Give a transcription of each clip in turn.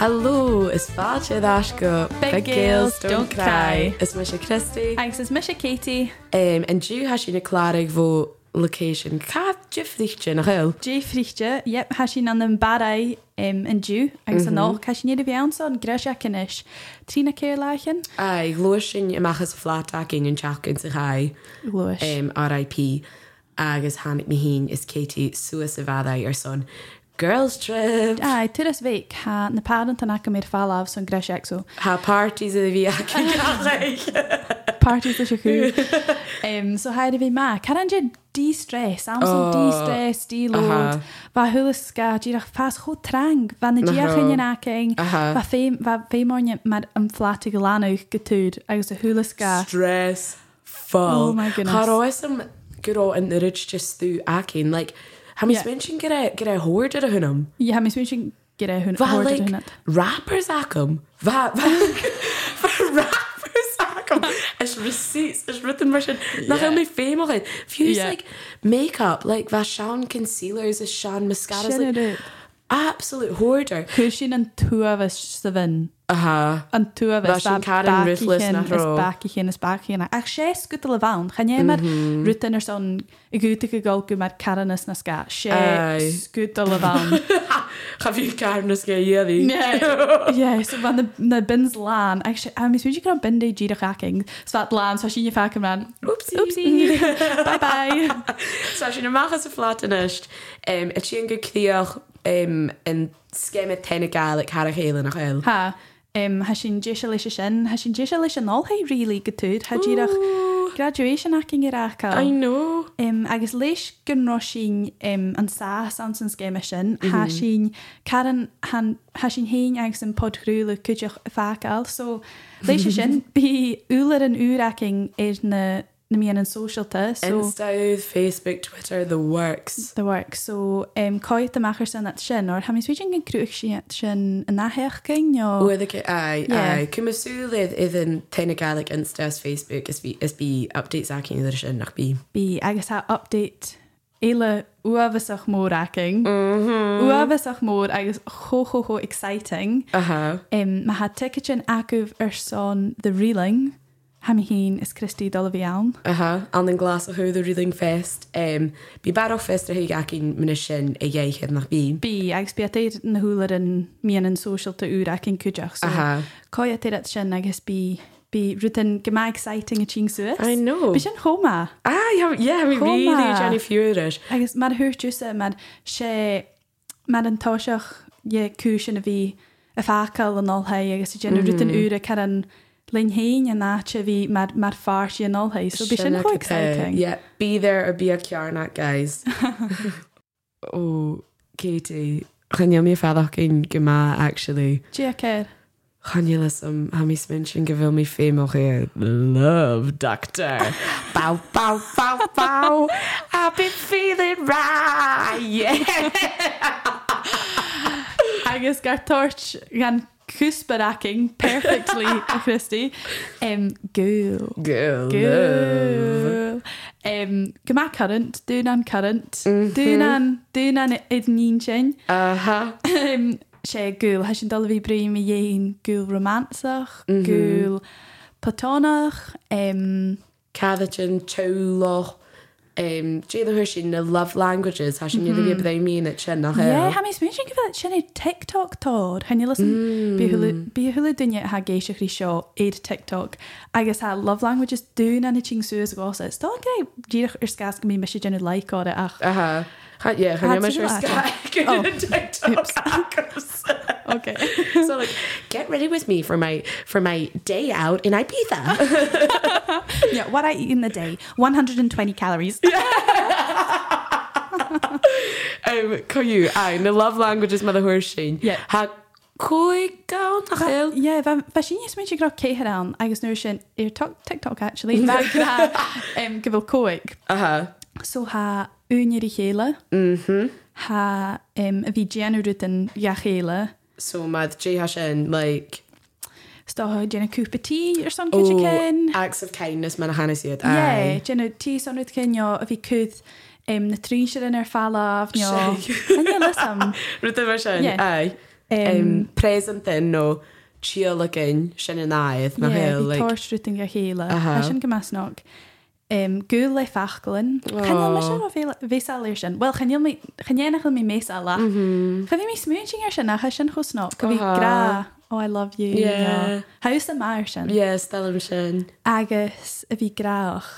Hello, is fáte dáisco Big girls don't cry. Is mu sé Christy Agus is mis Katie Um, an dú has sin na chláigh bh location Ca difríte nach chuil. J frichte yep has sin an an barai um, in dú agus an nach has sin iad a bhean an greise cinis trína céir leichen Ai glóir sin amachchas flaach in an teachcinn sa chai luis um, RIP agus hánig mi hín is Katie suas a bhadaí ar son. Girls trip Ai tu is bhé ha na parent an acha méid fallh son greisiach so Tá parties a bhí aici party lei chu um, so haid a bhí má Car an dé dístress am Oh, oh, dístress díló aha. Ba thulas ga dtíach fas cho trang van na Aha. ddíchan in aking Aha. Ba fé fémáine mar an flatig go lánach gotúd agus a thulas ga. Stress full. Oh my goodness. Charáisam gurrá an nuid just thú acin like ha mis Yeah. men sin gyda gyda hwyr ar a hwnnam. Ja, mis sin gyda hwn Fa order like hwn. rappers acum. Fa fa fa rappers acum. Is receipts is written version. Nach yeah. mi fame of it. Fuse yeah. Yeah. like makeup like va Sean concealers is Sean mascaras like absolute hoarder. Cwysyn yn tŵaf ys syfyn. Aha. Yn tŵaf Fel ys sy'n Karen Ruthless na ys rho. bach i chyn, ys bach i chyn. Ac se sgwyd y lefawn. Chan ie mae'r Mhm. rwytyn yr son y gwyd y gygolgw mae'r Karen ys na sga. Se Aye. sgwyd sgwyd y lefawn. Cha fi carnas ge i ydi. Yeah. yeah, so fan na- na bins lan. Actually, a mis wedi gwneud bin dei gyd o'ch hacking. So fan lan, so sy'n i ffac ymlaen. Oopsie. Oopsie. bye bye. Tá sin amachchas a flatanist um, a sin go clíoch um, an scéime tena gail ag cara chéile nach eil. Ha. Um, has sin deisiau leis sin, has sin deisiau leis yn ôl hei rili gytwyd, ha gyrach graduation ac yn gyrach I cael. know. Um, agus leis gynro sin um, yn sas ans yn sgema sin, ha sin Karen, han, ha sin hein agus yn podgrwyl y cwydioch y ffacal. So leis i sin, bu wler yn ŵr ac yn er na, na mi yn social ta. So, Insta, Facebook, Twitter, the works. the work. So, um, coed y machers yn at sin, o'r hamis wedi'n gyngrwych si at sin yn ahech gyn, o? Wedd ac ai, Yeah. ai. Cymysw lydd iddyn tena gael ag Insta, Facebook, is fi, is fi updates ac yn ydych yn nach bi. Bi agus ha update eile uafasach mór aking. Mm-hmm. Uafasach mór agus cho cho cho exciting. Aha. Um, mae ha ticketin agwf yr son The Reeling. Ha mi hun is Christy Dolafiawn. Aha, an yn glas o hwyr the reeling fest. Um, bi bar o fest rhaid ac yn mynysion e ieichyd nach bi. Bi agus bi ateir na hwler yn mian yn social ta ŵr ac yn cwjach. So, Aha. Coi ateir at sin agus bi bi rwy'n gyma exciting y ching sŵs. I know. Bi sin homa. Ah, yeah, yeah, we Kom really maar. Jenny Furyrish. Agus mae'r hwyrtiwsa, mae'r se, mae'r yn tosiach ie cwysyn y fi y ffacal yn ôl hei, agus i gen i rydyn ŵr y car yn lein hein yn na che fi mae'r ma ffars i yn ôl hei, so bys yn Shinna Kapoor. quite exciting. Yeah, be there or be a Kiarnak, guys. oh, Katie. Chanil mi fadach yn gyma, actually. Gia cer. Chanil as am hamis mention gyfil mi ffeim o'ch e love doctor. bow, bow, bow, bow. I've been feeling right. Yeah. Agus gair torch gan cwsper acing perfectly a Christy. Um, gwyl. Girl, love. Gwyl. Um, gyma current, dwi'n an current, dwi'n an, dwi'n an ednyn sy'n. Uh-huh. um, sé gúil he sin dal bhí brim i dhéon gúil romansach, gúil patónach, um, Cavachan, Choloch. Um, Jada Hershin, the love languages. Hashin, you know what I mean? It's Shinna Hill. yeah, ha mi smyn sy'n gyfel sinna TikTok tód. Hen i listen, bí hwyl dynia ha geisio chri sio i'r TikTok. Agus ha love languages dŵn an i ching sŵs gos. It's dal gai gyrach i'r sgas gymi mysi gen i like o'r ach. Aha. Ha, Uh-huh. yeah, Hanya Ah, ti'n Mishra Sky. gwybod? Oh. TikTok hackers. Okay. so like, get ready with me for my for my day out in Ibiza. yeah, what I eat in the day, 120 calories. um, Koyu, I the love languages mother Hershin. Yeah. Ha koi gaun nach hel. Yeah, fe, fe sy'n ys mynd i gro ceir an, agos nhw sy'n i'r toc- TikTok actually, fe gyda um, gyfel coig. Aha. So ha un i'r i chela, ha um, fi gen i'r rydyn ia chela, So mad J Hashin like sto ho gen i cwpa ti i'r son cwtio cyn. acts of kindness man Hanasid. Ie, gen i ti son rydyn cyn o, fi cwth um, na trin sy'n yn yr falaf, nio. Shag. Yn ie, lysam. Ruth version. Yeah. Aye. Um, Préan thin nó tíola cin sin in áid na yeah, hé bhí le tóirstruúting ar chéile Aha. Tá sin go measnach. Um, Gú le fachgalin Oh. bhéir sin Well chanéanachil mí mééis a lá Mm-hmm. Cha bhí mí smúting ar sin nach sin chusná go bhí Aha. gra ó I love you Uh-huh. Yeah. Thús a mar sin Ié stem sin. agus a bhí graach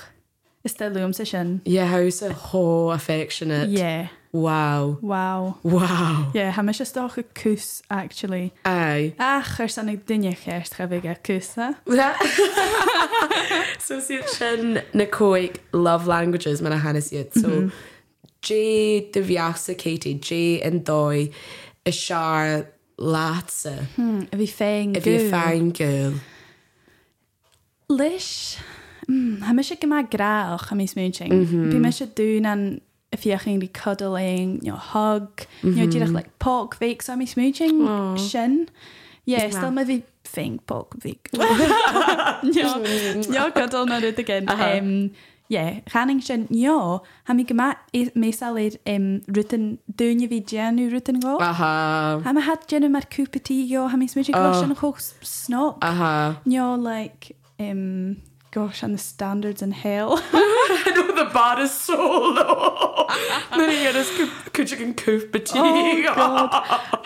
is de lúm sa sin Ié há a thó affectionate. Ié Wow. wow Wow. Ié ha me sé stoch a cús actually Ai. ach ar san ag duine cheist cha bhíh a cúsa so siad sin na cóig love languages man a hena siad so dé do bheasa Katie dé an dói i sear lása a bhí féin i bhí fearin go Leis mm, ha me sé go má graach a mís múting. Mhm. Bhí me sé dún an a fiochan bhí cuddling, you know, hug, you know, dtíach le pog féic a mís Mhm. Aw. múting sin. Ié, Yeah. stal me bhí féin pog bhíic. Jo cuddle na ruúta Aha. gin. Ié, chaning sin jo, ha mí go má méáid rutan dúine bhí déanú rutan gá. aha Ha me hat déanú mar cúpatí jo, ha mís múting Oh. go sin chó snop. aha No, like, um, gosh, and the standards in hell. I know the bar is so low na ní is chuide an cúh Oh, betí God.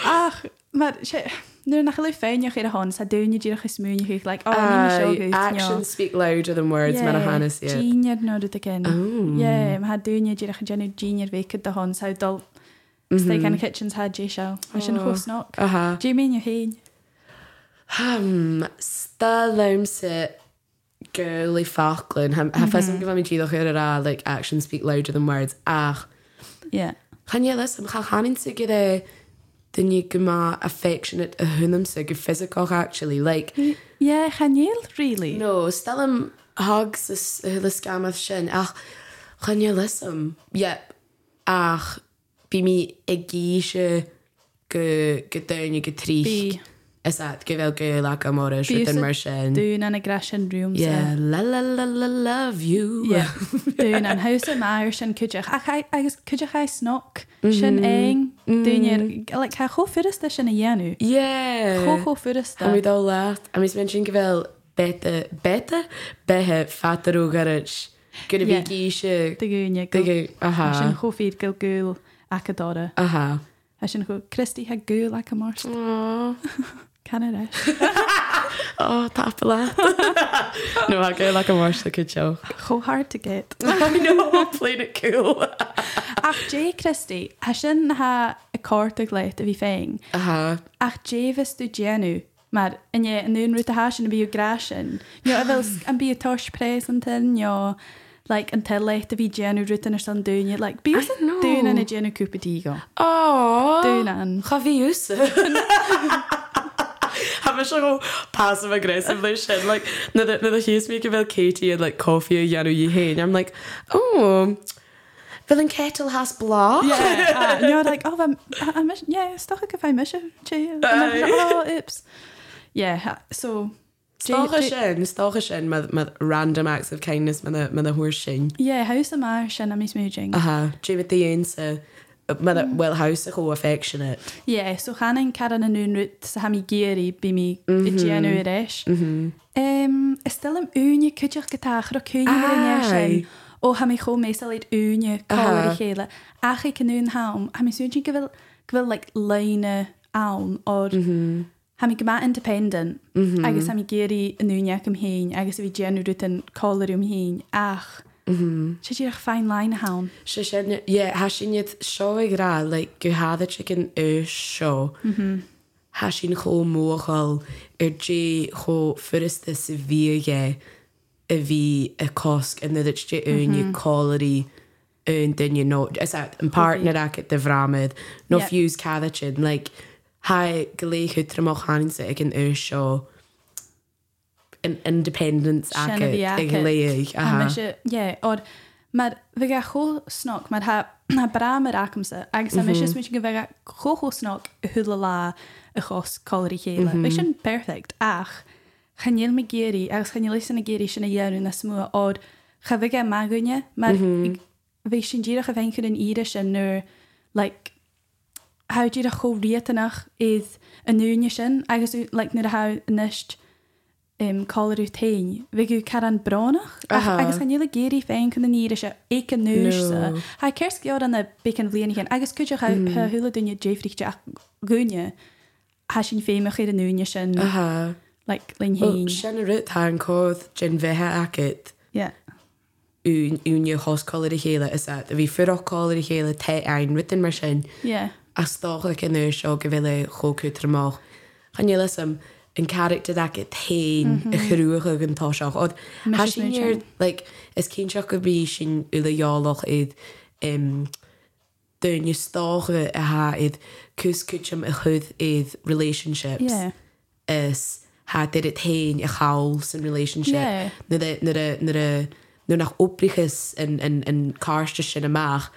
Ach, maar shit. Nu nach geloof fijn je geen hand. Zij doen je die nog eens moeilijk. Ik like, oh, nee, maar zo goed. actions speak louder than words man a hena siad Genius nou dat ik Um. in. Oh. Yeah, maar hij doen je die nog een genius week de hand. Zij dol. Steak and kitchens had je show. Als je Mm-hmm. een Oh. hoofd snak. aha Do you mean je heen? Hmm, sta loamsa girly Falkland ha fe go mé díach ar ará like action speak louder than words ach Yeah. Chan leis am cha chanin sa go é duní go má affectionate a hunnam sa go physical actually like Mm. Yeah, gaan je really? no stem hug sa s- le scamah sin ach chan lisam yep ach bí mi i gíise go go daine go trí Bí. is at go bhfuil go le am mar Bí sa mar sin. Doen aan aggression rooms. Yeah, la la la la love you. Yeah. Dún an hausa mair sin cuideach Ach, I- agus cuideach é snoc sin éing dúine le cha chofuiste sin na dhéanú. Yeah. Chocho And we fuiste all laughed. And we mentioned Gavel better, better, better, fatter ugarich. Gonna be Yeah. geisha. gúne Digging. sin Aha. chofiad go gúil acadora Aha. a sin go Christí ha gúil le a mar Oh, Canada. tapala. no, I go like a wash the good show. Chohard to get. I know, I played it cool. Ach J Christí ha sin ha a cóta leit a bhí féin. Aha. ach Javis du Jenu. Maar en je en nu rutte hasen bij je grasen. Jo, ik wil en bij je tors presenten, jo. Like until late to be Jenu rutten er staan doen je like be I know. doen en een Jenu koepen die go. Oh. Doen aan. Chavius. Have a go passive aggressively shit like now that now that he's making about Katie and like coffee you know you hate and I'm like oh villain kettle has blah Yeah. Jo, like oh, I'm, I'm, yeah, toch ik if I miss you, Jay. Oh, oops. Yeah, ha- so. Stocha sin stocha sin with with random acts of kindness with a with a horse sin Yeah, how's the marsh and I'm smooching. aha Jim at the end so with a well house a whole affectionate Yeah, so Hannah Karen and Unrut sa hami geary bimi Jenny Resh. Um, is stel am unie kutjach getaag ro kun je zijn. O hami go meestal uit unie Aha. kolor gele. Ach ik nu een haam. Hami suntje ik wil ik wil like line aan or hami gema independent. I guess hami geary een unie kom heen. I guess we Jenny Rut en kolor om heen. Ach. Zit je echt fine line haam. Sé sin yeah, ha sin iad seo ag rá le like, go háda chicken u seo. Tá sin cho móchail ar dé cho furiste sa bhíige a bhí a cosc in dat sé únne choirí ún dunne nó is an partner aice de bhráid nó Yeah. fiús cada sin le ha golé chutramach hása ag an u seo an independence Sin a bhí aice. léigh Aha. Yeah, or maar we gaan gewoon snok, maar ha ha bra met akumse. Eigenlijk zijn meisjes met je we gaan gewoon gewoon snok hulala een gos calorie gele. We zijn perfect. Ach, gaan jullie me geri, als gaan jullie zijn geri zijn jaar en dat smoe or ga we gaan magunje, maar ik- we zijn hier gaan kunnen ieder zijn nu like háidir a choríanach iad anúne sin agus ú le nu a ha nist choú tain. Vi ú car an branach Aha. Ach- agus gan le géirí féin chun na níire se éic an No. núsa. Tá ceirceod an na bacon bblianahéin, agus cuiideach ha thula duine déifríte gúne há sin féime chéad an núne sin Uh, Aha. le lin Well, héin. sin a rut ha an cód gin bheitthe acit Yeah. ún úne hoscoir i chéile is a bhí fuachcóir i chéile te ein rutin mar sin Yeah. as stácha in nu seo go bhfuile choú tramach. Chan le sam an character da go tain i chhrúcha an tá seach od Tá Mrs. Mhm. sin Mitchell. ar like is cén seach go brí sin uleáalach iad um, dunne stácha a ha iad cúscuúm a chud iad relationships. Yeah. is ha dit het heen a chaáil san Yeah. relationship nu nach oprichas in karste sin amach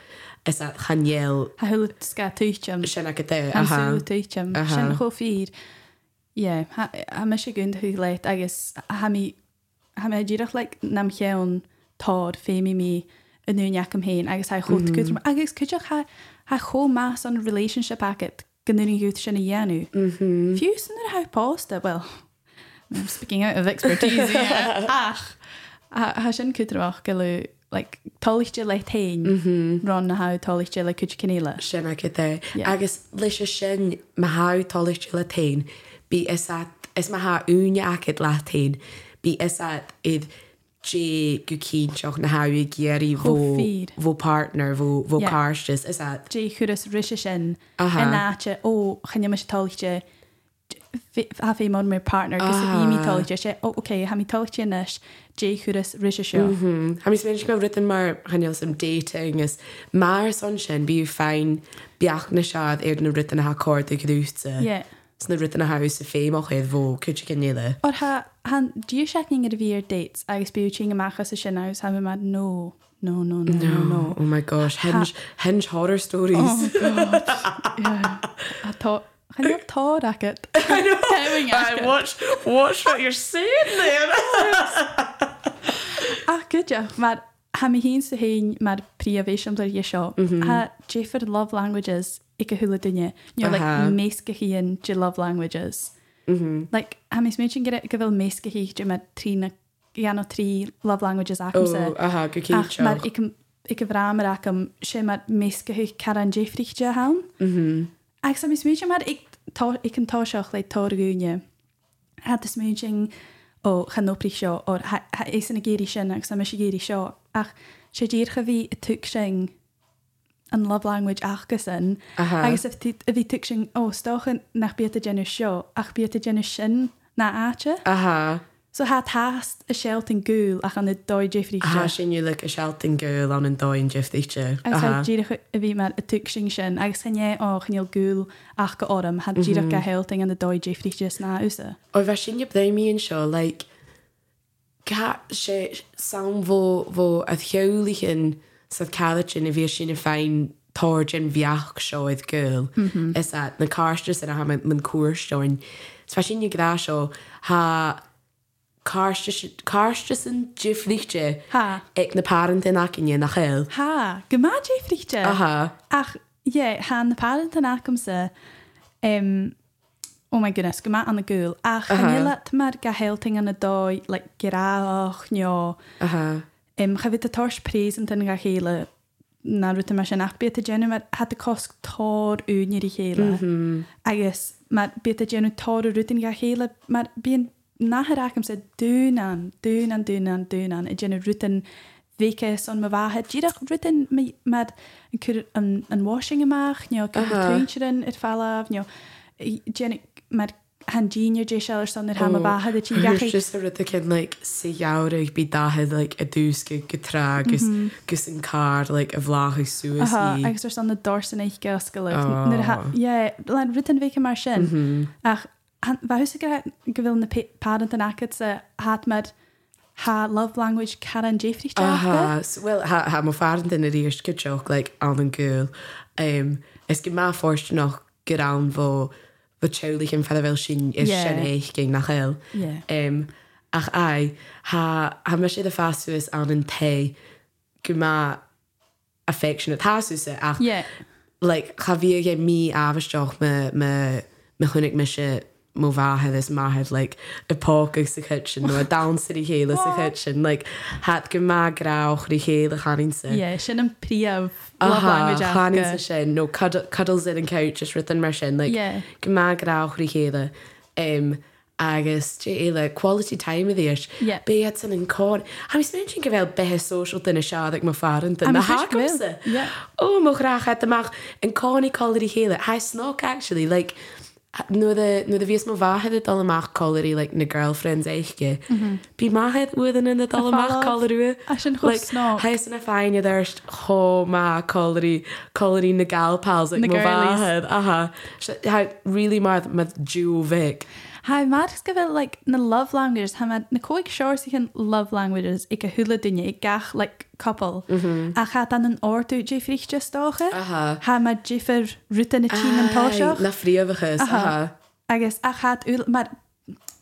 is dat ganjeel Tá thula sca tuitem. sin a te Ansúteitm Aha. sin choír me sé gunn thu leit agus ha mí ddíireach le nam cheann tá fémi mí anúneachm héin agus ha chut gom agus cuiteach ha cho más an relationship aget ganúning út sinna dhéanú. Fiú san ar hapásta well I'm speaking out of expertise yeah. ach ha sin cutraach go le like, taliste le tain ran na ha taliste le cuit cinile. sin a te Yeah. agus lei se sin ma ha toiste le tein bí is dat- is ma ha úne aket la tein bí is dat iad dé go cín seach na ha géirí Chomh vô partner vô Yeah. karstes is dat dé churas riise sin Aha. in náte ó channe me talite a fé má mé partner gus bhí mí talite sé óké ha mí talite nes dé churas riise seo Ha mis mé go rutin mar hanil sem dating is mar son sin bí fein beach na sead ar na rutin ha cord goúte s na rutin a ha sa féimach chuad bh chu cinile. Or ha han dú sening ar bhí dates agus beú tí amachchas a sin agus ha mar nó nó nó nó nó nó Oh my gosh, hinge, hinge horror stories. Oh, atá channe tá racket watch, watch what you're saying there. Ach goide Ah, mar ha mi hín sa hain mar príomhvéisiom ar dhé seo Ha Jaffer love languages i go thula duine nó le Aha. mées go hííon de love languages. Le ha mis mé sin go bhfuil mées go híí de mar trí na gan trí love languages a Oh, aha, go Ach, maar cín ik, ik heb ramen raak hem sé maar meske hu kar an Jeffreyje haan. Mhm. Ag sam is muúte mar ik tá- ik an táiseach lei toguúne. Het is muing ó ganopri seo ó is an géri sin ag sam géri seo ach sé ddír go bhí a tusing an love language achgus sin Aha. agus a bhí tusing ó stochan nach beta gennu seo ach beta gennu sin na áte. Ah. Aha, So hat haast a shelting gúil ach an na dóid Jeffrey. aha sin you look a shouting girl an an doin jift each other. Agus ha ddíireach a bhí mar a tuing sin agus sanné á chnéal gúil ach go orm ha ddíireach a heting an na dóid déifríte ná úsa. Og bheit sin bléíonn seo le ga sé sam bh a theolachen sa calatin a bhí sin a féin tágin bheach seoid goil is a na cáiste san a ha man cuaistein. Sfa sin gra seo ha cáiste san difríte Ha. ag e. na parentin a cinine nach chéil. Ha, go má déifríte Aha. ach é há na páint an acamsa ó me gunnas go má anna gúil ach chaile mar ga heting an na dóid le geráach neá Aha. im cha bhí a tás prís an tan ga chéile. Na ruta mar sin ach beta genu mar hat a cosc tór únir i chéile. agus mar beta genu tór rutin ga chéile mar bíon nachracham sé dúnan dúnan dúnan dúnan i genu rutin víkes an ma bhathe ddíach rutin mi- mar an cur- an an washing amach neo chuúin ar fallh neo genu mar han díine dé se san ar ha a bhathe a tí There's gaché just a rud cyn like siawrig byd dahed like a dwsg gytra gys gys yn car like a flach i sŵas Aha, i agus ar san na dorsan eich gascail Oh. Mhm. lein rutan bhíice mar sin ach bheithusa go bhfuil na pe- parent an acad sa hat mar há love language car an déifríte Aha, so, well, ha, ha mo farn dyn yr iers gydioch, like, an yn gwyl. Um, es gyd ma ffordd noch gyrawn fo, fo trewlich yn ffedda fel sy'n i'r Yeah. sien eich gyng na chael. Yeah. Um, ach ai, ha, ha mys iddo ffaswys an yn te, gyd ma affectionate haswys e, ach Yeah. like chavi ge mi astoch me me me hunnig me se mo vahe is mahead like y pog ag sy kitchen no a dancer i héle sy kitchen like het go ma grauch ri héle chanin sy Ie, sin an príamh chanin sy sin no cuddle- cuddles in an couch is written mar sin like Ie. go ma grauch ri héle um agus te éile quality time iddi is Ie. bé san an có ha mis men sin go bhfuil bethe social duna seadach má farin A den ma na fis ha go bhfuil, se ie. ó mo graag het amach an cáí choirí héile ha snog actually like nu de nu de vies ma wahed het allemaal choirí like na girlfriends eichke bí mahead within in het allemaal follow-up. choirí A sin chomh snog. he in a feinine derst ho oh ma choirí choirí na galpals like Na ma girlies. wahed aha ha really mar met Juvik Ha mad go bfuil le na love languages ha mad na cóig seir si an love languages ag go thula duine ag gach le couple a cha an an orú déifríte stocha Mhm. Aha. Ah, ha mad ddífar ruúta na tí antáiseach na friamhagus Uh-huh. aha agus a chat mar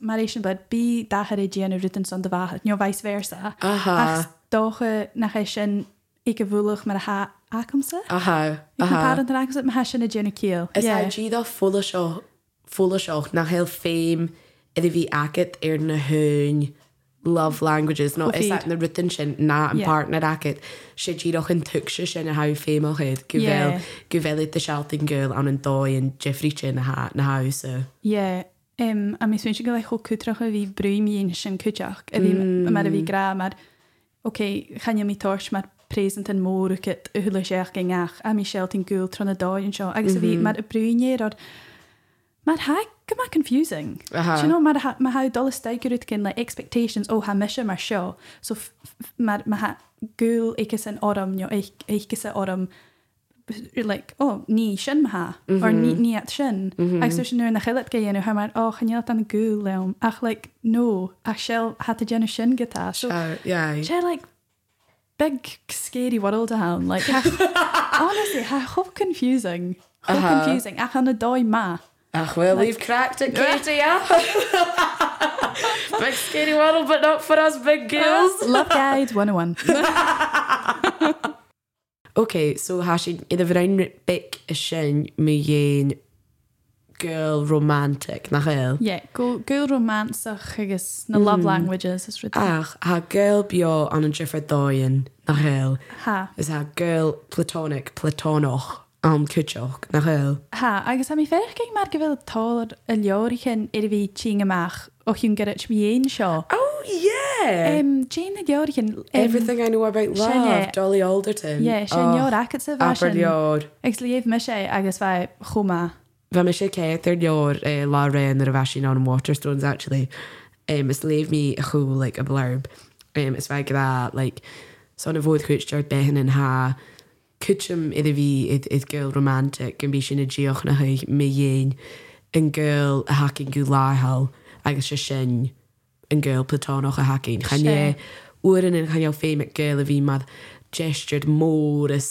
mar éis sin bud bí dachar é déanana rutan san de bhaid nó bhais versa Aha. dócha nach é sin i go bhúlach mar a ha acamsa aha aha Pá an agus me sin na déanana cíal Is yeah. IG dá fula seo fula seoach nach heil féim idir bhí agad ar na thuin love languages nó Go is feed. that na rutin sin ná an Yeah. partner agad sé ddíoch an tuise sin na ha féim chuid go Yeah. bhfuil go bhfuil de sealting girl an an dóin Jeffrey sin na ha- na hause. Ié, um, a mis sin go le cho cutracha a bhí breimíon sin cuteach a bhí mar a bhí gra mar Oké, chane mí toirs mar présent an mórrukit a thula séach gingach a mí sealting gúil trna dáin seo agus a bhí mar a brúinéir ar mar ha go má confusing. Aha. Sin mar ha- ma ha dolas deigeút cin le expectations ó ha meise mar seo so f- f- mar ma ha gúil ichas an orm nó échas a orm you're like oh ní sin ma ha or ní ní at sin agus sin nuair na chiile ge dhéanú ha mar ó chaneal an gúil lem ach like nó ach sell hat a déanú sin getá so Uh, yeah. She had like big scary world down. Like ha- honestly, ha- how confusing. How Uh-huh. confusing. Ach an a dói ma. Ach well we've cracked it Katie yeah. Big scary world but not for us big girls. Love Guide 101. Ok, so ha sé idir bhrein bic is sin mé dhéon girl romantic nach eil. yeah, go go romance agus na love languages is written. Ach, ha girl bio an an jiffer dóin nach eil. Ha. Is ha girl platonic platonoch an cúteoch nach eil. Ha, agus am i ferch gyn mar gyfil tol y liori chyn i'r fi ching amach o chi'n gyrraet mi ein sio. Oh yeah! Um, Um, Jane y liori chyn... Everything I know about love, Sinéad. Dolly Alderton. Yeah, sy'n Oh, lior ac at sef Aber asyn. lior. Egs lief mysio agos fe chwma. Bheit me sé céir leor eh, lá réan ar a bheisiín an Waterstones actually. Um, is léh mí a chu like, a blurb. Um, is bheith gra like, son a bhód chuisteart behan an há cuitim idir bhí id, id girl romantic an bhí sin na ddíoch na chuig mé dhéin an girl a hacinn go láthil agus se sin an girl platónach a hacinn. Sin. Chané uan in chaneal féimic girl a bhí mad gestured mór is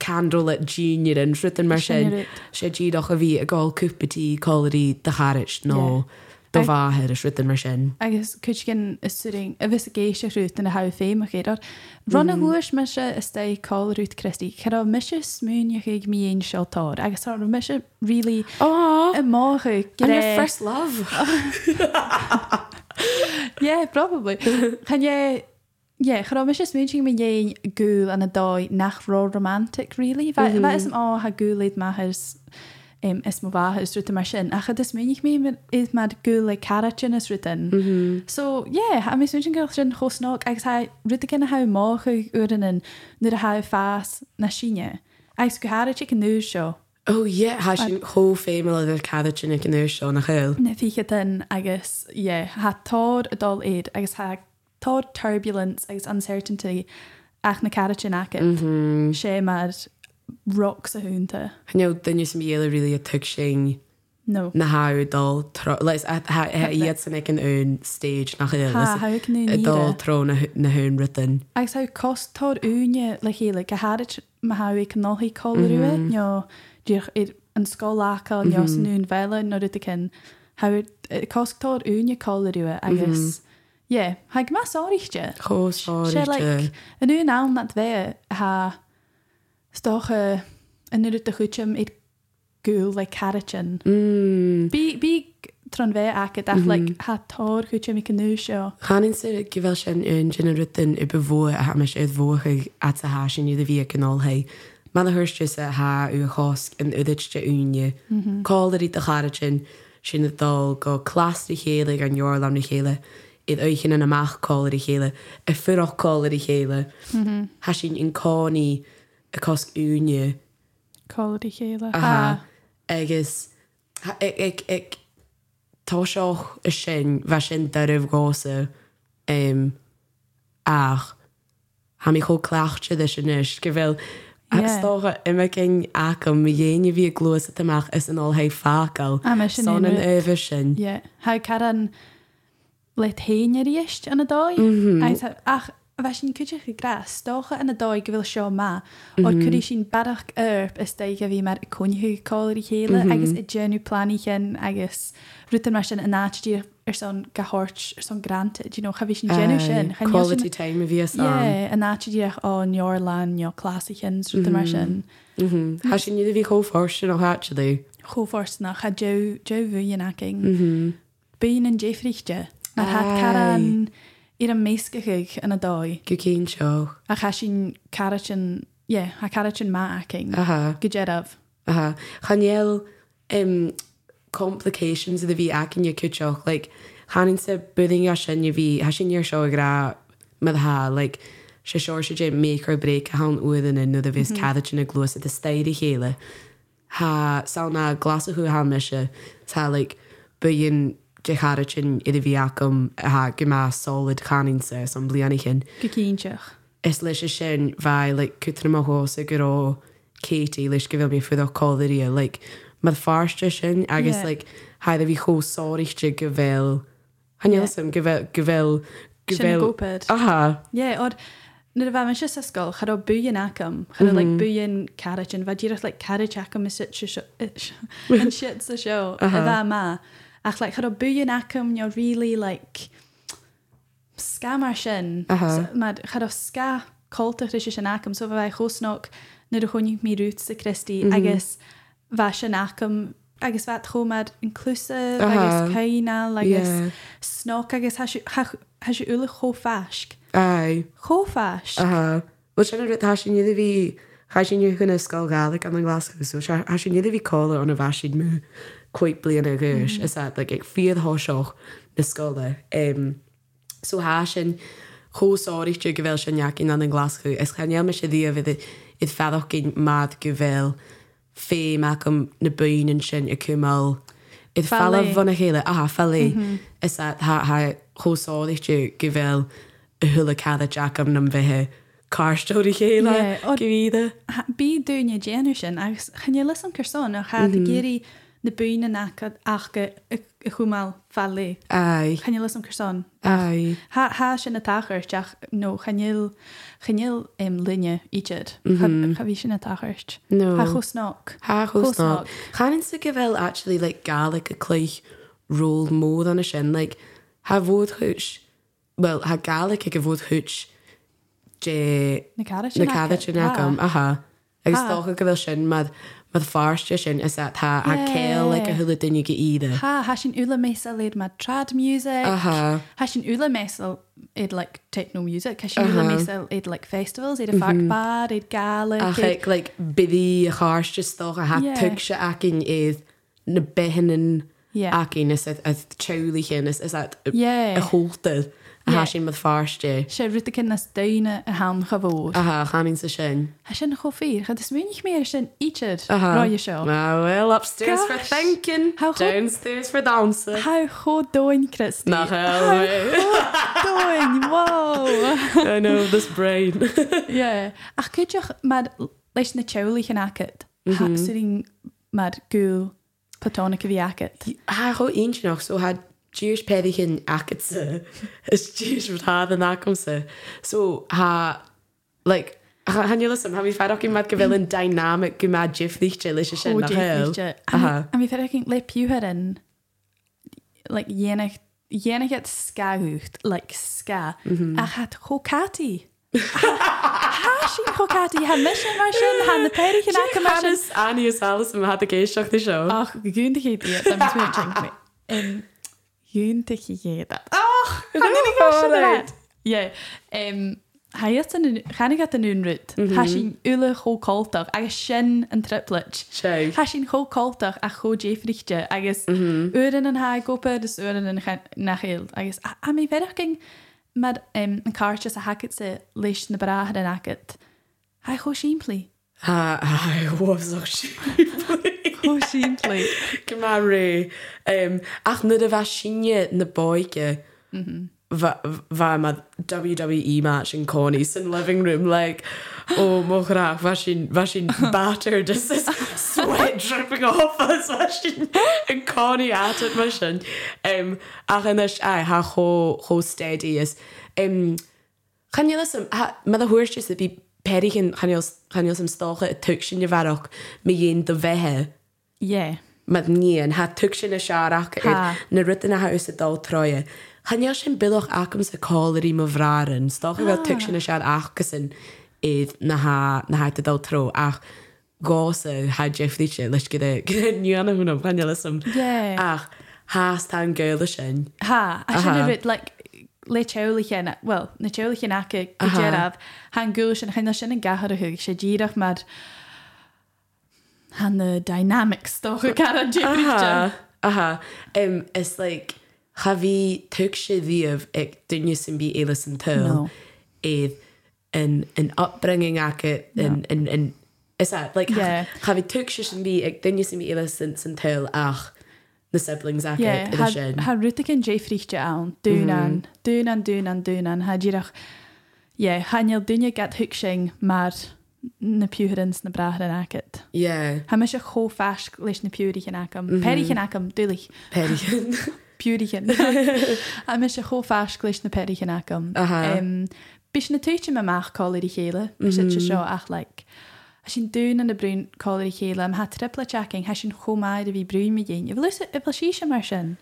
candlelit junior in fritin mar sin. Sin ar it. sé ddíadach a bhí a gáil cúpatí choirí de chairis nó do Ag- bhahead is rutain mar sin. agus chuid gin is suúing a bheits a géise rút na ha féim a chéad. Ronna Mm. thuis me se is sta cá rút Christí, chu á mis smúne chuig míon seotá, agus tá me se ri Á, i máthe I'm your first love. Yeah, probably. Can you Yeah, chyrra, mis is mwyn mi ein gŵl an y doi nach ro romantic, really. Fe mm -hmm. is o ha gŵlid ma hys um, is mo fa hys rwytyn ma sin. A chyd is mwyn mi mi- is ma'r gŵl ei carachin is rwytyn. Mm -hmm. So, yeah, a mis mwyn gael sin chosnog ac ha rwytyn gen a hau moch o'i wryn yn nyr a hau ffas na sinne. Ac gwyhara chi can nŵr sio. Ó, ie, há Oh, sin cho féimeil idir cadda sin ag inir seo nach chuil. Na fiche in agus yeah, ha tód adul aid agus ha tód turbulence agus uncertainty ach na cara sin acu Mm. Mm-hmm. sé mar rocks a húnta. Chneú duine sem dhéile rilí a tu sin No. na háúdul leis iad san ag an ún stage nach chuil. Ha ha can dul ní. tro na hu- na hún rutain. Agus ha cost tód úne le chéle go háit ma ha i canolí choúe nó dúch i an scólacha nó sanún veile nó ruta cin ha cost tód úne choúe agus. Yeah, ha go mas áiriiste. Chó sé like sáirte. yn un awn nad fe ha stoch y an nu a chuúteam iad gúil le caratin. Mm. Bí bí tron bheith acha ach le hatáir chuúteam i canú seo. Chanin se gohfuil sin an sin rutin i bhó a ha meis iad bhcha at a há sin iad a bhí canálha. Man a thuirste a há u chosc an uidirte úne, Cáir í a charatin sin na dal go clásta chéla an jóorlam na chéile. iad échan an amachcóir i chéile a fuachcóir i chéile. Tá sin in cáí a cos úne Cáí chéile Aha. agus ha- e, ag- ag- ag- tá seoch a sin bheit sin doibh gása um, ach ha mí cho chclaachte de sinis go bhfuil Yeah. agtócha imime cin acham dhéine bhí glúsa amach is an áthaid fácail Ah, mar sin san an éanrith. uhah sin. Tá caran le taine ríist an Mhm. adóid ach a bheit sin cuiteach i gras tócha an adóid go bhfuil seo má ó Mhm. chuí sin badach orb is dé go bhí mar coniú cóirí Mhm. chéile agus i déanú planíchéan agus ruúta mar sin a nátí ar son gothirt ar son grant d nó chahí sin déanú sin Cha bhí sin- Ah, Quality time Mhm. a bhí san. Ie, a nátidíach ó neorlan neo clásichin ruúta mar sin Tá sin iad a bhí chóá sin ó háte lú. chóforsna cha jo bhuiinnaking. Bíon an déifríchte na hat caran ar an méiscachuig in a dói Go cín seo. a cha sin caratin ha caratin má aking Aha. go jeadh. Aha. Chanéel um complications of the vi akin your kuchoch like hanin se budding your shin your vi hashin your show gra med ha like she sure she jim make or break a han uiden and no the vis cadachin a gloss at the stady hele ha sauna glass of who han misha ta like buyin jecharachin i the vi akum ha gema solid hanin se some blianichin go cínteach. is leis a sin bheit le cutra a hása go ó Katie leis go bhfuil mé fud choirí le e, mar farste sin agus Yeah. le haidir bhí chósáirte go bhfuil Hansom go bhfuil go bhfuil go Sin a bhfuil gopad. Aha Ie, or na a bheith si sa sscoil chu buin acam chu le buin caratin bheit ddíireach le carriage acam is sit si- si- an siit sa seo a bheit má ach le chu buin acam ne rilí le scamar sin Aha. chu sca colta sé sin acam so bheith chósnach na a chuinnig míút sa Christí agus bheit sin acam agus bheit chomad inclusa Aha. agus caiine Yeah. agus snog agus heisi ula chó feisc. ai Chófas aha Bhil sin ru tá sin idir bhí cha sin chuna sá galach an an glasú sin idir bhí cála an a bhhaisiid mú chuig blian a gus is le ag fiad háiseoch na scóla. Um, so há sin chósáirte go bhfuil sinneach in an an glasú. Is chanéal me sé díomh it feadach cin mad go bhfuil fé me go na buan sin a cumá. It Fallé. fellh van a héile aha fellé is chósáirte go bhfuil a thula cad Jackam na bheitthe cátóí Yeah, chéile or- gohíide. bí dúne déanú sin agus chenne lei an chuán a cha Mhm. géirí na buine nachad achcha i chumáil fellé. Ai Chenne lei an chuán. ai Tá sin na tair teach nó chail chail im linne iad cha bhí sin na tairt. Mhm. No. Tá chus nach. Ha Chosnog. chosnog. Chanin sa go bhfuil actually like galig a chluich ról mód an a sin like ha bhód thuúis well ha galig a go bhód thuúis de Na cara na cadad sin agam aha agus tácha go bhfuil sin mad mad farste sin is a ha ha céil le a thula duine go iad Tá há sin ula mésa léad mar trad music Aha. Tá sin ula mésal iad le techno music Tá sin ula mésal iad le festivals iad a fartbad iad gala Uh-huh. Mhm. ach ag like bidí a cháiste tócha ha Yeah. tu se acin iad na behanan Yeah. acin is a teúlaí chin is is a Yeah. a hóta a Yeah. ha sin mad farste. sé ruta cin nas daine a ham gehór. Aha, chanin sa sin. Tá sin chofií chu is munig mé sin iad Aha. ráide seo. Ah, well, upstairs for Gosh. thinking, How goed- downstairs for dancing. Tá chodóin Chris Nach hell, Dóin wow. I know, this brain. Yeah. Ach chuideach mar leis na teolaí an acad Hasúing mar gú platóna a bhí acad. Ha, go Ah, eentje nog, zo had Jeers pedi geen akketse. Is Jeers wat haar de nakomse. Zo, ha, like, ha, han jullie hem, ha, wie vaak ook in met gewillen dynamic, gema jif lichtje, lisje Oh, sin, nach hell. Aha. a bhí fer cin le piúharin le dhéanaach dhéanaach scaúcht le sca a chat chocatí. Tá sin chocatí ha mis mar sin ha na peir cin acha mar sin Hannes Annie Alice yn had y geisioch di sio. ach go gúnta chéad iad am mé drink me. Um, Dúnta chi héad. Ach alright. Ié. ehm, Haiad an chanig an únrút Tá sin ule chóáach agus sin an triplet. Seo. Tá sin chóáach a chodéifríte agus uan an hagópa dus uan an nachhéil agus a- a mé verking mar um, an cáte a hacket sa leis na brathe an agat. Ha cho siimplí. Ha, ha, wofs o'ch si. Cho siimplí. Gymaru. Um, ach nid y fa sinie na boige. Fa ma WWE match yn Connie sy'n living room like oh moch rach fa si'n fa si'n battered just this sweat dripping off us fa si'n yn Connie at it ma si'n um, ach yn ys ai ha cho cho steady is um, Chan jylle som, mae dda hwyrs jyst bi peri chan jylle som stoch y tŵg sy'n yfarwch mi un dy fehe Ié. mae nian ha tŵg sy'n y siarach Ha. na rydyn a haws y dol troia. Chan jylle sy'n bylwch ac ams y colir i myfraren stoch y fel tŵg sy'n y siarach ac sy'n idd na ha na ha dy dol tro ach gos y ha Jeff Leach lys gyda gyda nian am hwnnw chan jylle som Ie. ach has tan gael y sy'n Ha, a sin Aha. rud like le teolalachéna well na teolalachénacha go Aha. dearad han gúil sin chuna sin an gahar a thug sé ddíireach mar han na dynamics do chu cara Uh-huh. Aha, aha. Um, it's like, ha fi tŵg si ddiaf ag dynnu sy'n bi eilis yn tŵl No. edd yn, yn Eh, upbringing ac y- yn, yn, yn, is that, like, Yeah. ha fi tŵg si sy'n bi ag dynnu sy'n bi eilis yn, yn tŵl ach na siblings ac yeah, yn y sin. ha ruta an déifríte ann dúnan dúnan dúnan dúnan ha ddíireach é hanneal duine get thug sin mar na púharins na brath an agat. Yeah, Ha me se chó feis leis na púrichanacham Perichanacham dúlich Perry. Púrichan a me se chófás leis na perichanacham. Aha. Bís na tuite me meach choir i chéile mar si se seo ach le. A sin dún an na brún choir i chéile am ha tripla checking he sin chomáid a bhí brún me géin. I bhil sí sem mar sin.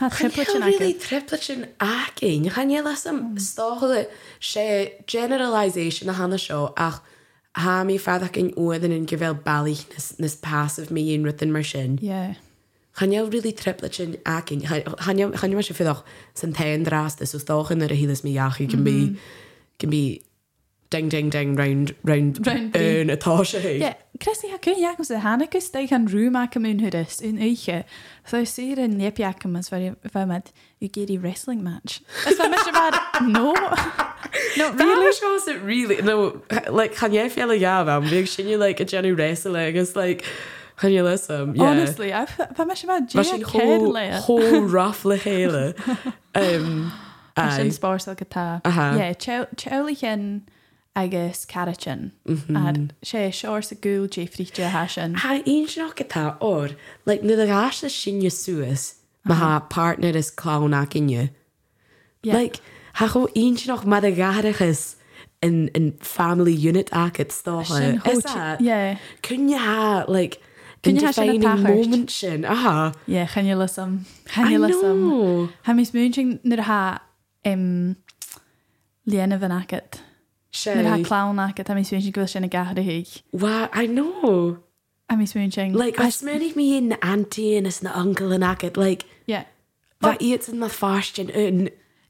Tá tripla Triplet really triplet yn acing. Chan ie las am stochol y se generalisation a hana sio ach ha mi ffadach yn oedden yn gyfel bali nes, nes pasif mi un rydyn mar sin. sin. Chan ie er really triplet yn acing. Chan ie mar sin ffyddoch sy'n tein dras dys o stoch yn yr hylis mi iachu can be, can be ding ding ding round round Round bee. yn y tosio hi. Ja, Christy ha kun jagus de hannekus de gaan rumaken mijn hudis in eetje. Zo zie je een nepjaken als waar met u geeft die wrestling match. Is dat misschien waar? No. No, Really? really? That was it really. No, like, can you feel a yeah, man? Being seen you like a Jenny wrestling. It's like, can you listen? Yeah. Honestly, waar misschien waar? Mae Jia sy'n hol, Kerle. hol raff le hele. Um, Misschien ai. sparsel gita. Aha. Ja, Chowlichen agus Karachin. Mm-hmm. En she shores a ghoul Jeffrey Jahashin. Ha un sy'n o'ch gyda o'r, like, nid ag as y sy'n yw sŵas, mae ha partner is clawn ac yn yw. Like, ha chw un sy'n o'ch madagarach is yn, yn family unit ac at stoch. Is that? Ja, Cyn you ha, like, Cyn you ha sy'n y defining pachart? moment Uh-huh. sy'n, aha. ja, gaan je lassen. Gaan I je lassen. know. Ha mis muing nar ha um, léana van agat. Nar ha Shay. clown agat a mis muing go sin na gahar a hiig. Wow, I know. A mis muing. Like, I smerig me in auntie and as an uncle and ac at, like, yeah. that eats in the fashion yn,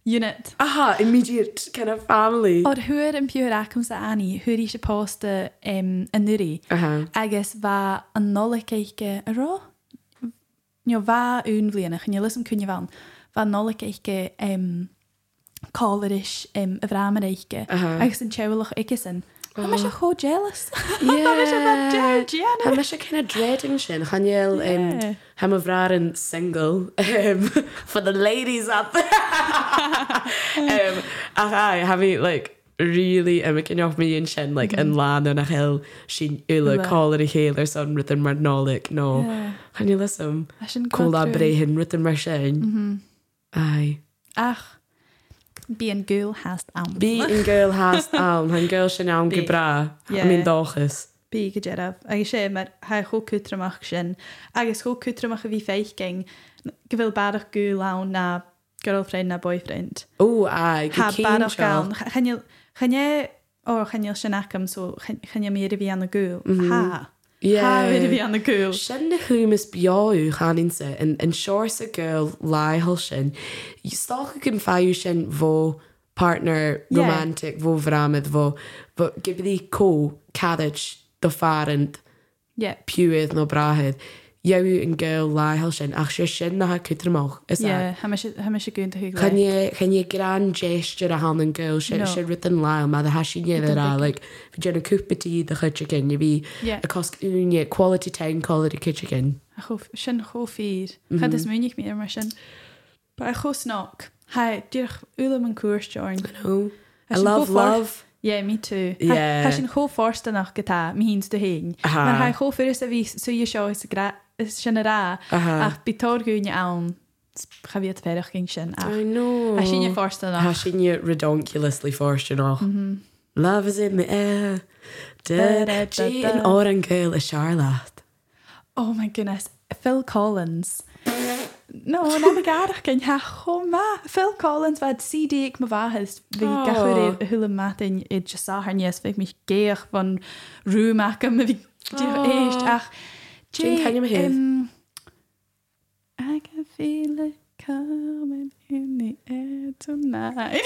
Unit. Aha, Uh-huh, immediate kind of family. Or huir an piúir acum sa aní, huir is a posta um, a nuri. Aha. Agus va an nola ceike a rá? Nio va un blianach, nio lisam cunha van. Va nola ceike um, cólarish um, a vrámar eike. Aha. Agus an chewalach eikesin. Oh. Am se cho jealous? Yeah. Georgiana. Ham eisiau kind of dreading sin. Haniel, Yeah. um, ham y frar yn single um, for the ladies Um, out there. um, ac ai, ham i, like, really ymwcyn off mi un sin, Mm-hmm. like, yn lan yn achil, sy'n yla Yle. colir i chael ar son rydyn ma'r nolig, no. Yeah. Haniel ysym, I shouldn't Mm-hmm. go cola through. brei hyn rydyn ma'r sin. Ai. Ach, bí an gúil hast am. Bi yn gael has alm, han gael sin alm Bí. gybra, Yeah. am un dochus. Bí go dearab. Agus sé mar ha cho cútramach sin. Agus cho cútramach a bhí feichging go bhfuil barach gú lán na girlfriend na boyfriend. Ó a Ha barach gan chenne ó chenne sin acham so chenne mé a bhí anna gúil Ha Ha mé a bhí anna gúil Sin na chumas beáú chaninsa an seir a girl láhall sin. I stácha cin fáú sin bó partner Yeah. romantic bó bhráid bó gibí có cadid do farint yeah. puúad nó brathead. Jeú an girl láhall sin ach sé sin na cutramach is that- yeah. ha me sé gún Can a thuúil you can you grand gesture a hand and girl shit No. shit with an lyle mother has she near that are like if you're a coop tea the hut chicken you be Yeah. a cost unia quality time quality kid chicken sin choír Cha is muúnig mé mar sin Ba a chós nach Ha Dich ulam an cuaistein no I Has she love go for- love Ja mí tú Yeah. sin choóásta nach gotá mí híns do héin Aha. mar ha chofuir a ví suú seo is a gra- is sin a rá Aha. ach bitóúne an chavíad ferach gin sin I ach know Ah, sin fásta nach has she near redonkulously forced you Mm-hmm. know love is in the air da da Da-da-da-da. da an oran girl a charlotte Oh my goodness, Phil Collins. No, na fi garach gen ha choma. Phil Collins fad CD ik me vahis. Fi Oh. oh. gachwyr e hwyl yma dyn i jysa har nies fi mich geach fan rŵm ac am fi diach Oh. eisht ach. Jane, can you behave? um, ehm, I can feel it coming in the air tonight.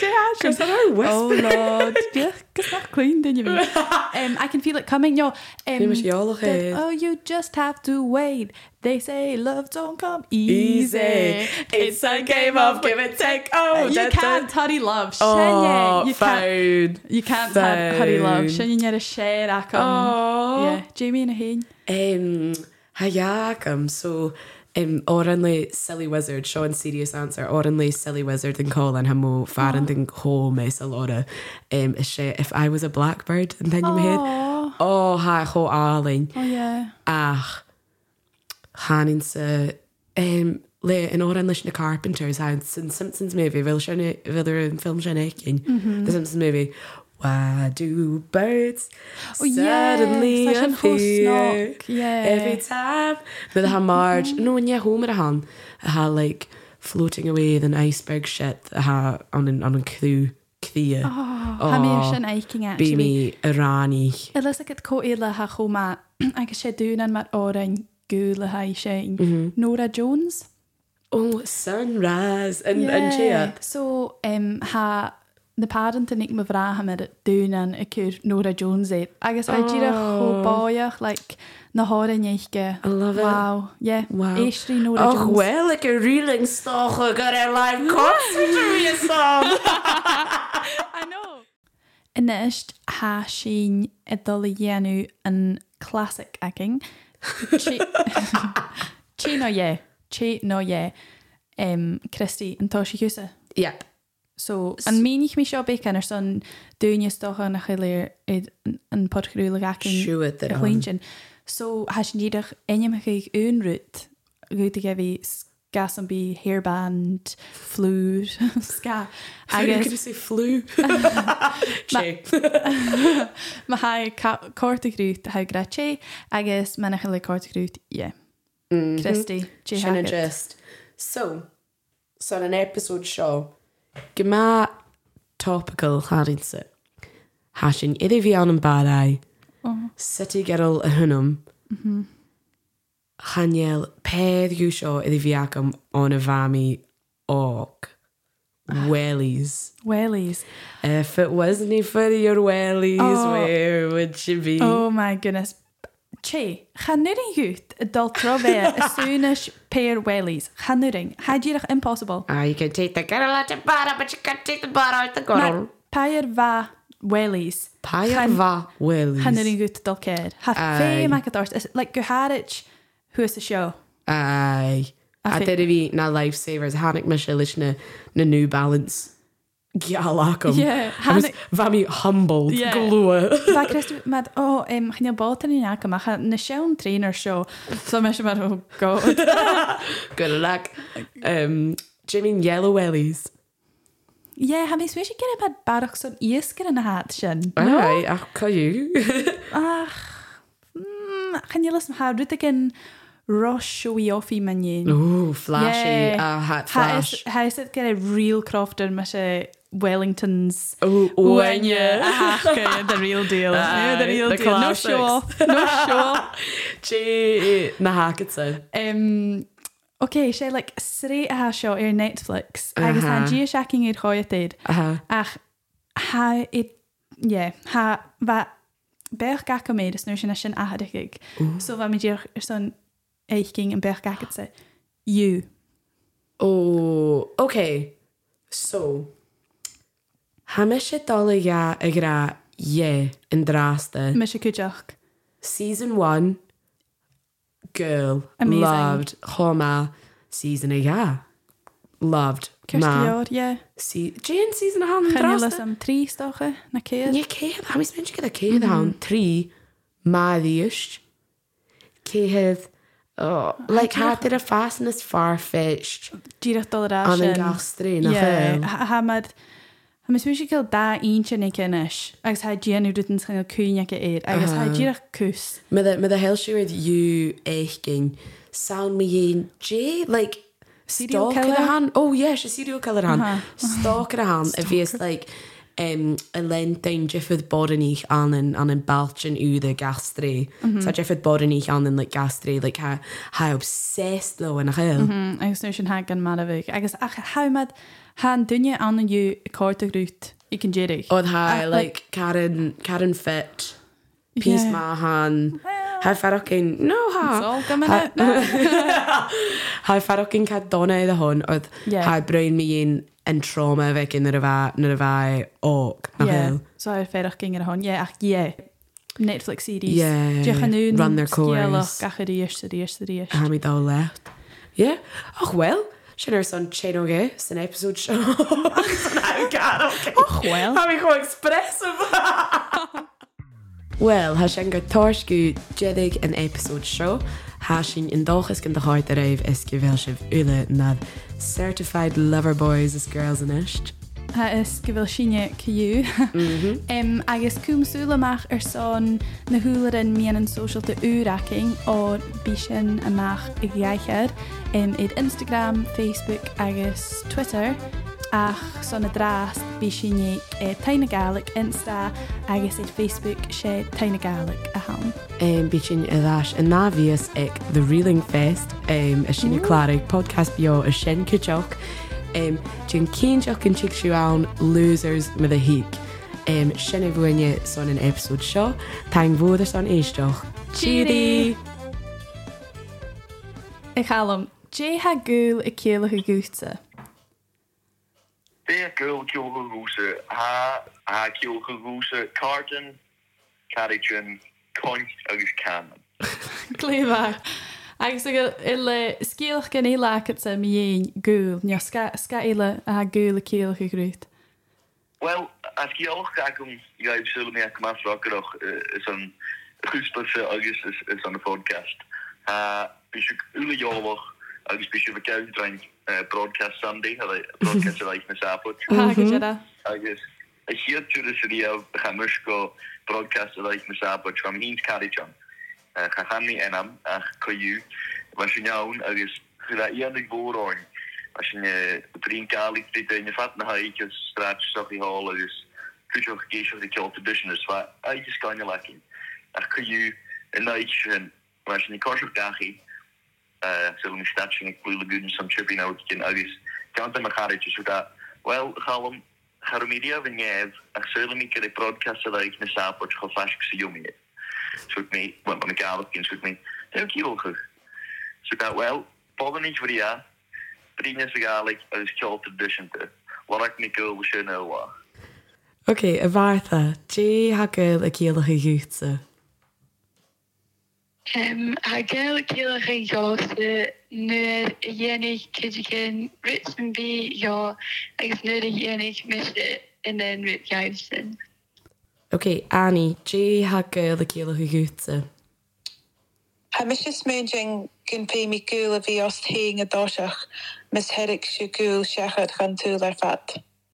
Jay Asher. that our Oh lord, diach gysach clean dyn i fi. Um, I can feel it coming, yo. Um, Ni mis i olwch that, hyd. Oh, you just have to wait. They say love don't come Easy. easy. Uh, It's a game of give and take. Oh, you da, da. can't hurry love. oh Shanye, you can't. phone You can't hur- hurry love. Phone. Shanye, you're a share. I come. oh Yeah, Jamie and Aheen. Um, ha jaag, um, so um, oranly silly wizard, Sean serious answer, oranly silly wizard and Colin hamo farand and home is a lot of um, is she, if I was a blackbird and then you head Oh, oh ha ho arling oh yeah. ach hanin se um, le an oran leis na Carpenters ha sin Simpsons movie vi vi an film sin ekin Mhm. the Simpsons movie Why do birds Oh, yeah, suddenly such an whole appear snog, yeah. every time? But ha Marge, no, and yeah, Homer han ha like floating away with an iceberg shit ha on an on a clue clear. Oh, oh. Hamir sin aching Be actually. me Irani. It looks like it caught Ela ha choma. I could share doing and my orange gula ha Mm-hmm. shine. Nora Jones. Oh, sunrise and and cheer. So um, ha na parent yn eich myfra ham yr dŵn yn y cwr Nora Jones e. Agos fe gyda chwboiach, like, na hor yn eich ge. Oh. I love it. Wow, yeah. Wow. Eistri Nora Och Jones. wel, ik een reeling stoch, ik er een live concert voor je song. I know. Yn ysd, ha sy'n edol i enw yn classic aging. Chi chi no ie. Chi no ie. Um, Christy, yn tosi hwysa. Ja. So, yn mynd i'ch mi sio beth yn ers o'n dwi'n ysdoch yn ychylir yn podgrwylig ac yn Siwyd yr hwn. Chhuiin. So has sin díadach aimimecha ag únrút goúta a bhí gas an bí hairband, flúr, sca Agus. agus Gwyd i flu. Che. má ha cótagrút ha gra sé agus menach le cótagrút é. Christy Shanna just. So, so an episode show. Gyma topical harin sy. Hashin iddi fi an yn barau. Uh-huh. Sut i gyrl y hwnnw. Mm-hmm. Haniel, pedd yw sio iddi fi ac am o'n y fami og. Wellies. Wellies. If it wasn't for your wellies, Oh. where would you be? Oh my goodness. Che, chanuring út a dul trobé asúnis pair wellies. Chanuring. Hadíach impossible. Ah, you can take the girl out the bottom, but you can't take the bottom out the Na, girl. Pair va wellies. Pairva Hanner wellies. i'n gwybod dal cer. Ha Aye. fe mac adors. Is it like gwharich who is the show? Aye. I A think- dyna fi na lifesavers, hannig mae eisiau leis na, na New Balance. Gialacum. Yeah, hannig- Fa mi humbled, Yeah. glwa. Fa Christy, mad, o, um, chyn i'n bod yn un ac yma, chyn nes iawn trainer show. So mae eisiau mad, oh god. Good luck. Um, do you mean yellow wellies? Ie, ha mi eisiau gyda mad barwch son is gyda na hat sy'n. Alright, ach, ca you. Ach, mm, chyn i'n lysm ha, rwyt ag yn rosúí ofí manin. Ooh, flashy. Yeah. Uh, hat Ha flash. is ha is it get a real crofter me se Wellingtons Ooh, Wenye the real deal yeah, the Aye, real the deal no show off no show off Gee, na hagad sa. um, Ok, sé le sré athe seo ar er Netflix agus Aha. an ddí seaking ar choid Aha. ach ha it yeah, ha va bech ga go méid is nu sin na sin ahadig so bha mé ddíoch ar san éiking an bech gagad se you Oh, okay. So, hamish it all ya agra ye in drasta. me se cuideach Season one, girl, Amazing. loved. Homa, season a ya, loved. Ma, Kirsteor yeah. see, Jane season a hand in Channe le Mm, drasta. am trí stocha na cé Ie, céhedd, a mis mynd gyda céhedd hawn, tri, ma ddiwst, céhedd, oh, like, had it a fastness far-fetched, díach dul an yn rá gael strain, a Yeah, chael. ha mad ha mis mis gael da un sin i cynnes agus ha dian yw dydyn sy'n gael cwyn ac eir agus ha diach cws Mae the hell siwyd yw eichgyn, sawn mi un, jay, like, Serial stalker killer? a han, oh yeah, she's serial killer a han, Uh-huh. stalker a han, if he's like, um, y lentyn jiffydd bod yn eich an yn, an yn balchyn yw the gastri. Mm-hmm. So jiffydd bod yn eich an yn, like, gastri, like, ha, ha obsessed though yn a chael. Mm, agus nu sin ha gan mar a bhig agus ach ha mad ha dunne an yw cóta grút i cyn jerig Oedd ha, A- like, Karen, Karen Fit, Peace Yeah. Mahan, ha fferocin, no ha, sol gan mynd ha fferocin ca dona iddo hwn, oedd Yeah. ha brain mi un yn trauma fe gyn yr yfa, yr yfa oc, na fel. so ar fferach gyng ar hon ie ach ie Netflix series Yeah, diolch yn nhw'n run their course. sgielwch gach yr ies yr ies yr ies Ha mi daw left. Ie, och wel, sy'n yr son chain o ge, sy'n episode sio. Sy'n hau gar o och wel Am i go express o fa. Wel, ha sy'n gael torsgu jedig yn episode sio. Ha sy'n yn dolchus gyda choed ar eif ysgu fel sy'n yle nad certified lover boys as girls yn ysg. Ha is gofuil sinne cuú Em, agus cúmsúlaach ar son na thuúlarin mian an socialte úraking ó bí sin amach i ggheir in iad Instagram, Facebook agus Twitter ach son na dras bí sinne eh, taine gaach insta agus iad Facebook sé taine gaach a ham. Um, Bísin a ddáis an návías ag The Reeling Fest um, a sinna chláraigh podcast bio a sin cuteach um, Jin císeach an tiicú ann losers me a hiic. Um, sinna bhuaine son an episód seo, Tá bhda san éisteach. Cheery! I chalam, Dé ha gúil i céalacha gúta. Beer girl Kilgaroosa, er Ha Ha Kilgaroosa, Carton, Carrigan, Coint agus Cannon. Cléfa. Agus ag- ile scíalach gan éile agat sem dhéon gúil, ní sca éile a gúil a cíalach i grút. Wel, as jy ook kyk om jy sou my ek maar vra krog is 'n goedspelse agus is is aan 'n podcast. Ha bis ek ule jawig agus bis ek kyk drink broadcast Sunday, hulle broadcast like mis apot. Mhm. Agus jada. agus a hir tú is í ah chamis go broadcast leith me sa chum hín carjan cha chaní enam ach coú mar sinjaun agus chu a íannig bóráin a sin brín galí daine fat na haige stra soí hall agus tuch géisio de kill business wa agus ganine lekin ach coú in na sin mar sin ko gachi zullen we statching ik wil goed some chipping out in alles kan dan maar het is dat wel gaan gaan media van je ik zullen ik de broadcast dat ik na sapot gaan vast ze jongen zoet me want mijn kamer kind zoet me dank je ook zo dat wel boven niet voor ja prima ze gaan ik als child edition te wat ik niet wil zijn nou wat Ok, a bhartha, dé ha gil a céalacha gúta. Um, Hagel kielige jose nu jenig kidgen ritsen bi ja ik nu de jenig miste in den wit juisten. Ok, Annie, dé ha gil a céalacha gúta. Ha mis is mejing gyn pe mi gul a fi os teing a dosach, mis herig si gul siachad gan tŵl ar fat.